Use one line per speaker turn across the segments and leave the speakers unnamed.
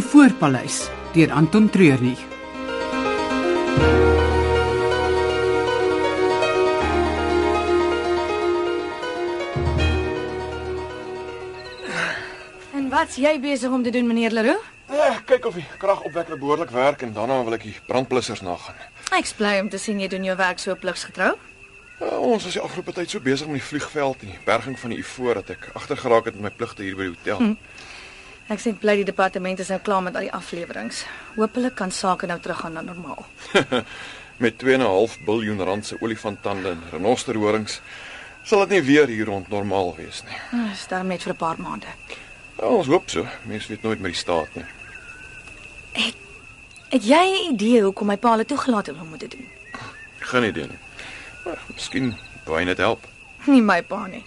Spoorpaleis deur Anton Treurnig.
En wat's jy besig om te doen, meneer Leroux?
Eh, kyk of die kragopwekker behoorlik werk en daarna wil ek die brandblussers nagaan.
Ek's bly om te sien jy doen jou werk so pligsgetrou.
Eh, ons was die afgelope tyd so besig met die vliegveld en die berging van die Ivoor dat ek agtergeraak het met my pligte hier by die hotel. Hm.
Ek sê bly die departement is nou klaar met al die afleweringe. Hoopelik kan sake nou teruggaan na normaal.
Met 2.5 miljard rand se olifanttande en renosterhorings sal dit nie weer hier rond normaal wees nie.
Nou, Is daar net vir 'n paar maande.
Ja, ons hoop so. Mense weet nooit met die staat nie.
Het jy 'n idee hoekom my pa hulle toegelaat het om hom te doen?
Geen idee nie. Maar miskien baie net help.
Nie my pa nie.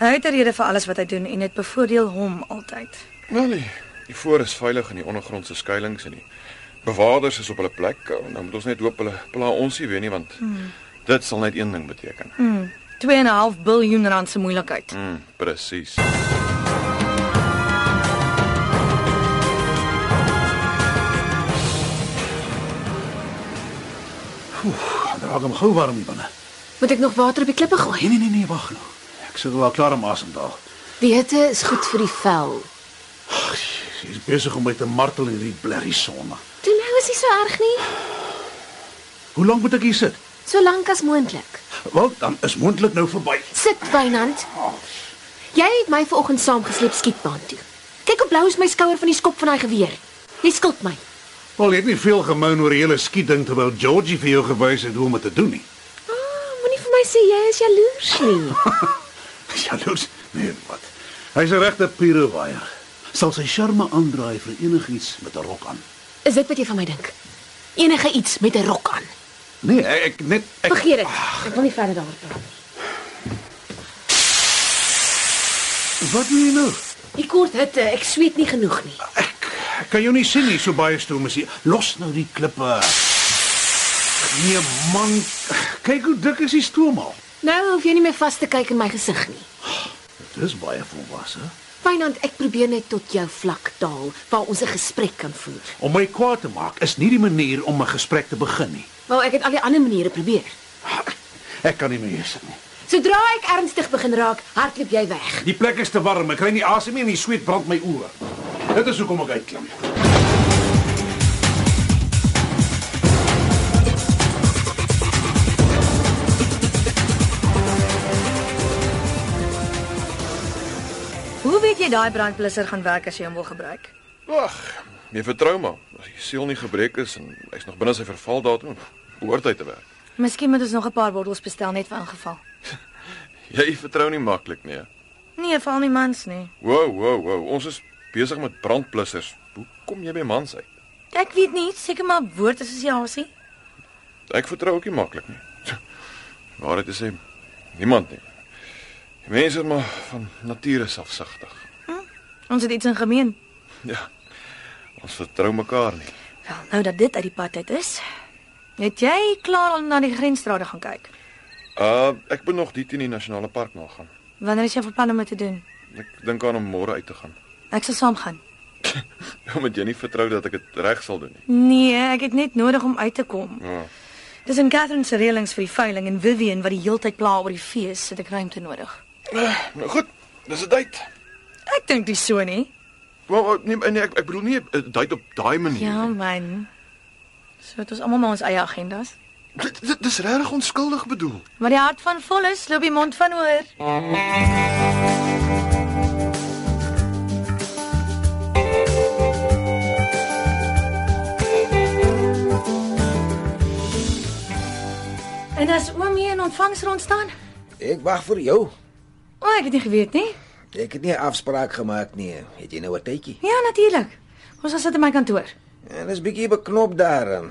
Hy het 'n rede vir alles wat hy doen en dit bevoordeel hom altyd.
Wel nee, die voor is veilig in die ondergrondse skuilings en die bewakers is op hulle plek. Nou moet ons net hoop hulle pla ons nie weer nie want hmm. dit sal net een ding beteken. Hmm.
2.5 miljard rand se moeilikheid.
Hmm, presies.
Draag hom gou warm hier binne.
Moet ek nog water op die klippe gooi?
Nee nee nee nee, wag nou. Ek sou wel klaar om asem te haal.
Die hitte is goed vir die vel.
Sy's besig om my te martel in hierdie blerrie son.
Toe nou is dit so erg nie.
Hoe lank moet ek hier sit?
So lank as moontlik.
Wel, dan is moontlik nou verby.
Sit, Wynand. Jy het my vanoggend saamgesleep skietbaan toe. Kyk hoe blou is my skouer van die skop van daai geweer. Jy skuld my.
Wel, jy het nie veel gemou oor die hele skieding terwyl Georgie vir jou gewys het hoe om dit te doen nie.
Ah, moenie vir my sê jy is jaloers nie.
Jaloers? Nee, wat? Hy's 'n regte pirouaier. Sal sy charme aandraai vir enigiets met 'n rok aan.
Is dit wat jy van my dink? Enige iets met 'n rok aan.
Nee, ek, ek net ek
Vergeet dit. Ek wil nie verder daaroor praat. nie.
Wat doen jy nou?
Die kort hitte, ek sweet nie genoeg nie.
Ek, ek kan jou nie sien nie, so baie stoom is hier. Los nou die klippe. Nee man, kyk hoe dik is die stoom al.
Nou hoef jy nie meer vas te kyk in my gesig nie.
Dis baie volwasse.
Wynand, ek probeer net tot jou vlak daal waar ons 'n gesprek kan voer.
Om my kwaad te maak is nie die manier om 'n gesprek te begin nie.
Wel, ek het al die ander maniere probeer.
Ek kan nie meer hier sit nie.
Sodra ek ernstig begin raak, hardloop jy weg.
Die plek is te warm. Ek kry nie asem nie en die sweet brand my oë. Dit is hoekom ek uitklim.
Hoe weet jy daai brandblusser gaan werk as jy hom wil gebruik?
Wag, jy Nee, vertrou maar. As die siel nie gebreek is en hy's nog binne sy vervaldatum, behoort hy te werk.
Miskien moet ons nog 'n paar bottels bestel net vir ingeval.
Jy vertrou nie maklik nie. hè?
Nee, val nie mans nie.
Wow, wow, wow. Ons is besig met brandblussers. Hoe kom jy by mans uit?
Ek weet nie, seker maar woordassosiasie.
Ek vertrou ook nie maklik nie. Maar dit is hy niemand nie. Die mense is maar van nature selfsugtig.
Ons het iets in gemeen.
Ja. Ons vertrou mekaar nie.
Wel, nou dat dit uit die pad uit is, het jy klaar al na die grensstrade gaan kyk.
Uh ek moet nog dit in die nasionale park nagaan.
Wanneer is jy van plan om dit te doen?
Ek dink aan om môre uit te gaan.
Ek sal saam gaan.
Omdat jy nie vertrou dat ek dit reg sal doen nie.
Nee, ek het net nodig om uit te kom.
Ja.
Dis in Catherine se reëlings vir die veiling en Vivian wat die heeltyd pla oor die fees, het ek ruimte nodig.
Nou goed, dis 'n date.
Ek dink dis so nie.
Wel nee, nee ek, ek bedoel nie 'n date op daai manier.
Ja, man. So het ons almal maar ons eie agendas.
Dit- Dit dis regtig onskuldig bedoel.
Maar die hart van vol is, loop die mond van oor. En as oom hier in ontvangsrond staan?
Ek wag vir jou.
O, ek het nie geweet nie.
Ek het nie 'n afspraak gemaak nie. Het jy nou 'n tydjie?
Ja, natuurlik. Ons sal sit in my kantoor.
En is bietjie beknop daar. ehm.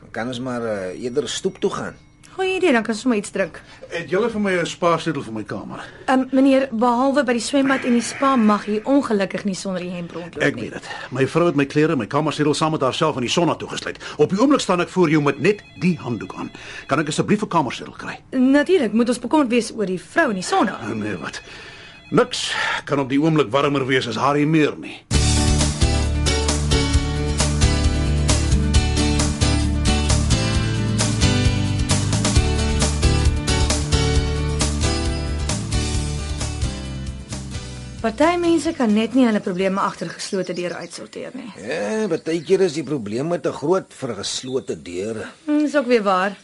Dan kan ons maar uh, eerder stoep toe gaan.
Goeie idee, dan kan ons sommer iets drink.
Het julle vir my 'n spaarsleutel vir my kamer?
Ehm um, meneer, behalwe by die swembad en die spa mag u ongelukkig nie sonder die hemp rondloop nie.
Ek weet dit. My vrou het my klere en my kamersleutel saam met haarself aan die son na toe gesluit. Op die oomblik staan ek voor jou met net die handdoek aan. Kan ek asseblief 'n kamersleutel kry?
Natuurlik moet ons bekommerd wees oor die vrou in die sonna.
Oh, nee, wat. Niks kan op die oomblik warmer wees as haar hier meer nie.
Party mense kan net nie hulle probleme agter geslote deure uitsorteer nie.
Ja, baie keer is die probleme te groot vir geslote deure.
Hm, Dis ook weer waar.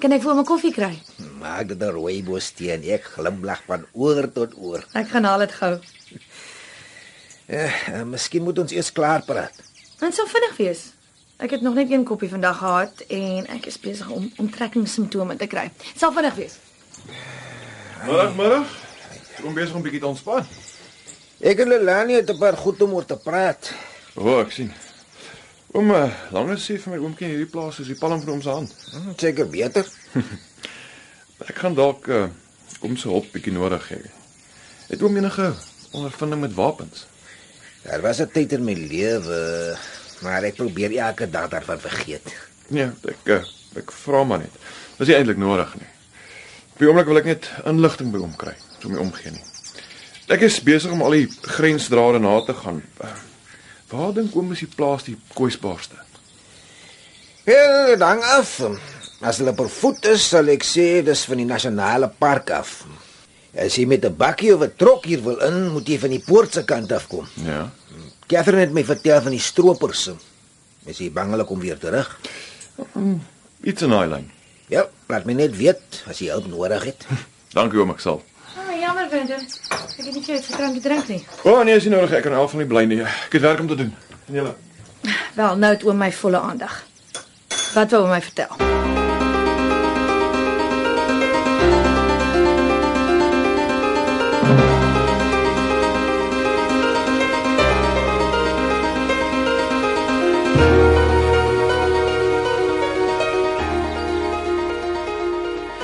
Kan ek vir hom 'n koffie kry?
Maak dit 'n rooiboos steen. Ek glimlag van oor tot oor.
Ek gaan haal dit gou.
Eh, eh, miskien moet ons eers klaar praat.
Dit sal vinnig wees. Ek het nog net een koppie vandag gehad en ek is besig om onttrekkingssimptome te kry. Dit Sal vinnig wees.
Middag, middag. Kom besig om bietjie te ontspan.
Ek en Lelani het 'n paar goed om oor te praat.
O, oh, ek sien. Oom, eh, langer sê vir my oomkie in hierdie plaas is die palm van hom se hand.
Hm, Seker beter.
Ek gaan dalk uh, kom se hulp bietjie nodig hê. Het oom enige ondervinding met wapens?
Daar was 'n tyd in my lewe, eh, maar ek probeer elke dag daarvan vergeet.
Nee, ek uh, ek vra maar net. Dis nie eintlik nodig nie. Op die oomblik wil ek net inligting by hom kry, so my omgee nie. Ek is besig om al die grensdrade na te gaan. Uh, waar dink oom is die plaas die kwesbaarste?
Ja, dan af. As hulle per voet is, sal ek sê dis van die nasionale park af. As jy met 'n bakkie of 'n trok hier wil in, moet jy van die poort se kant af kom.
Ja.
Catherine het my vertel van die stroopers. Is jy bang hulle kom weer terug?
Iets in daai lyn.
Ja, laat my net weet as jy hulp nodig het.
Dankie oom, ek sal.
Ah, jammer Winter. Ek het nie vir jou gevra om te drink nie.
O oh, nee, as jy nodig, ek kan help van die bly nie. Ek het werk om te doen. En julle.
Wel, nou het oom my volle aandag. Wat wou hy my vertel?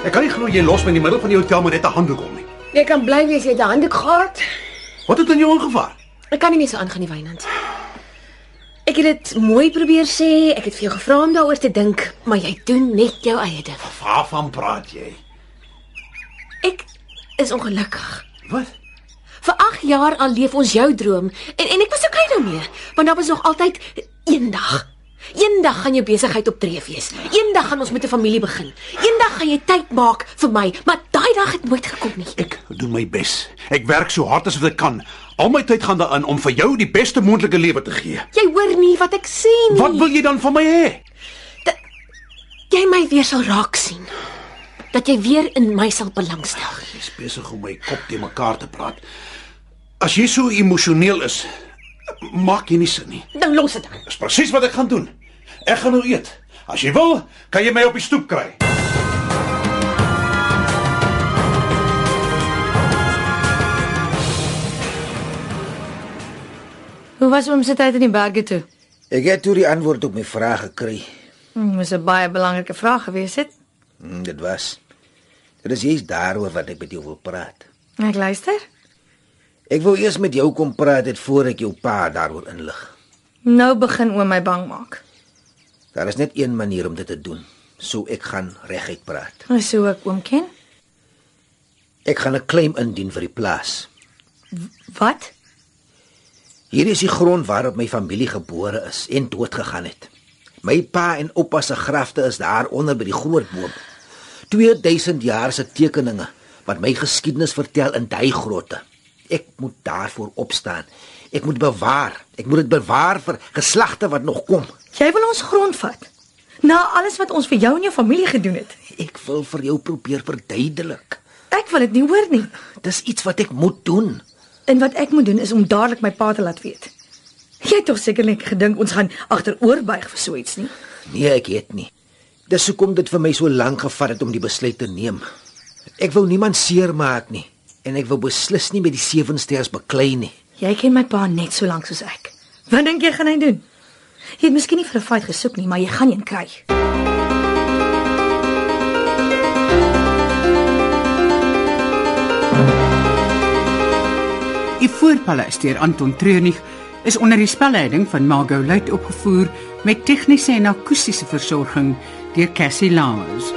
Ek kan nie glo jy los my in die middel van die hotel met net 'n handdoek om nie.
Jy kan bly wees jy het 'n handdoek gehad.
Wat het in jou ongevaar?
Ek kan nie meer so aangaan nie, Wynand. Ek het dit mooi probeer sê, ek het vir jou gevra om daaroor te dink, maar jy doen net jou eie ding.
Waarvan praat jy?
Ek is ongelukkig.
Wat?
Vir 8 jaar al leef ons jou droom en en ek was okay daarmee, want daar was nog altyd eendag. Eendag gaan jou besigheid optree wees. Eendag gaan ons met 'n familie begin. Eendag gaan jy tyd maak vir my, maar daai dag het nooit gekom nie.
Ek doen my bes. Ek werk so hard as wat ek kan. Al my tyd gaan daarin om vir jou die beste moontlike lewe te gee.
Jy hoor nie wat ek sê nie.
Wat wil jy dan van my hê?
jy my weer sal raak sien? Dat jy weer in my sal belangstel.
Jy's besig om my kop te mekaar te praat. As jy so emosioneel is, maak jy nie sin nie.
Dan Nou los dit dan.
Dis presies wat ek gaan doen. Ek gaan nou eet. As jy wil, kan jy my op die stoep kry.
Hoe was oom se tyd in die berge toe?
Ek het toe die antwoord op my vraag gekry.
Hm, Dis 'n baie belangrike vraag gewees het.
Hm, dit was. Dit is juist daaroor wat ek met jou wil praat.
Ek luister.
Ek wil eers met jou kom praat het voor ek jou pa daaroor inlig.
Nou begin oom my bang maak.
Daar is net een manier om dit te doen. So ek gaan reguit praat.
Dis hoe ek oom ken.
Ek gaan 'n claim indien vir die plaas.
Wat?
Hier is die grond waarop my familie gebore is en doodgegaan het. My pa en oupa se grafte is daaronder by die groot boom. 2000 jaar se tekeninge wat my geskiedenis vertel in daai grotte. Ek moet daarvoor opstaan. Ek moet bewaar. Ek moet dit bewaar vir geslagte wat nog kom.
Jy wil ons grond vat. Na alles wat ons vir jou en jou familie gedoen het.
Ek wil vir jou probeer verduidelik.
Ek wil dit nie hoor nie.
Dis iets wat ek moet doen.
En wat ek moet doen is om dadelik my pa te laat weet. Jy het tog sekerlik gedink ons gaan agteroorbuig vir so iets nie.
Nee, ek het nie. Dis hoekom dit vir my so lank gevat het om die besluit te neem. Ek wou niemand seermaak nie en ek wou beslis nie met die sewe sterre beklei nie.
Jy ken my pa net so lank soos ek. Wat dink jy gaan hy doen? Jy het miskien nie vir 'n fight gesoek nie, maar jy gaan een kry.
Die Voorpaleis deur Anton Treurnig is onder die spelleiding van Margot Luit opgevoer met tegniese en akoestiese versorging deur Cassie Lawrence.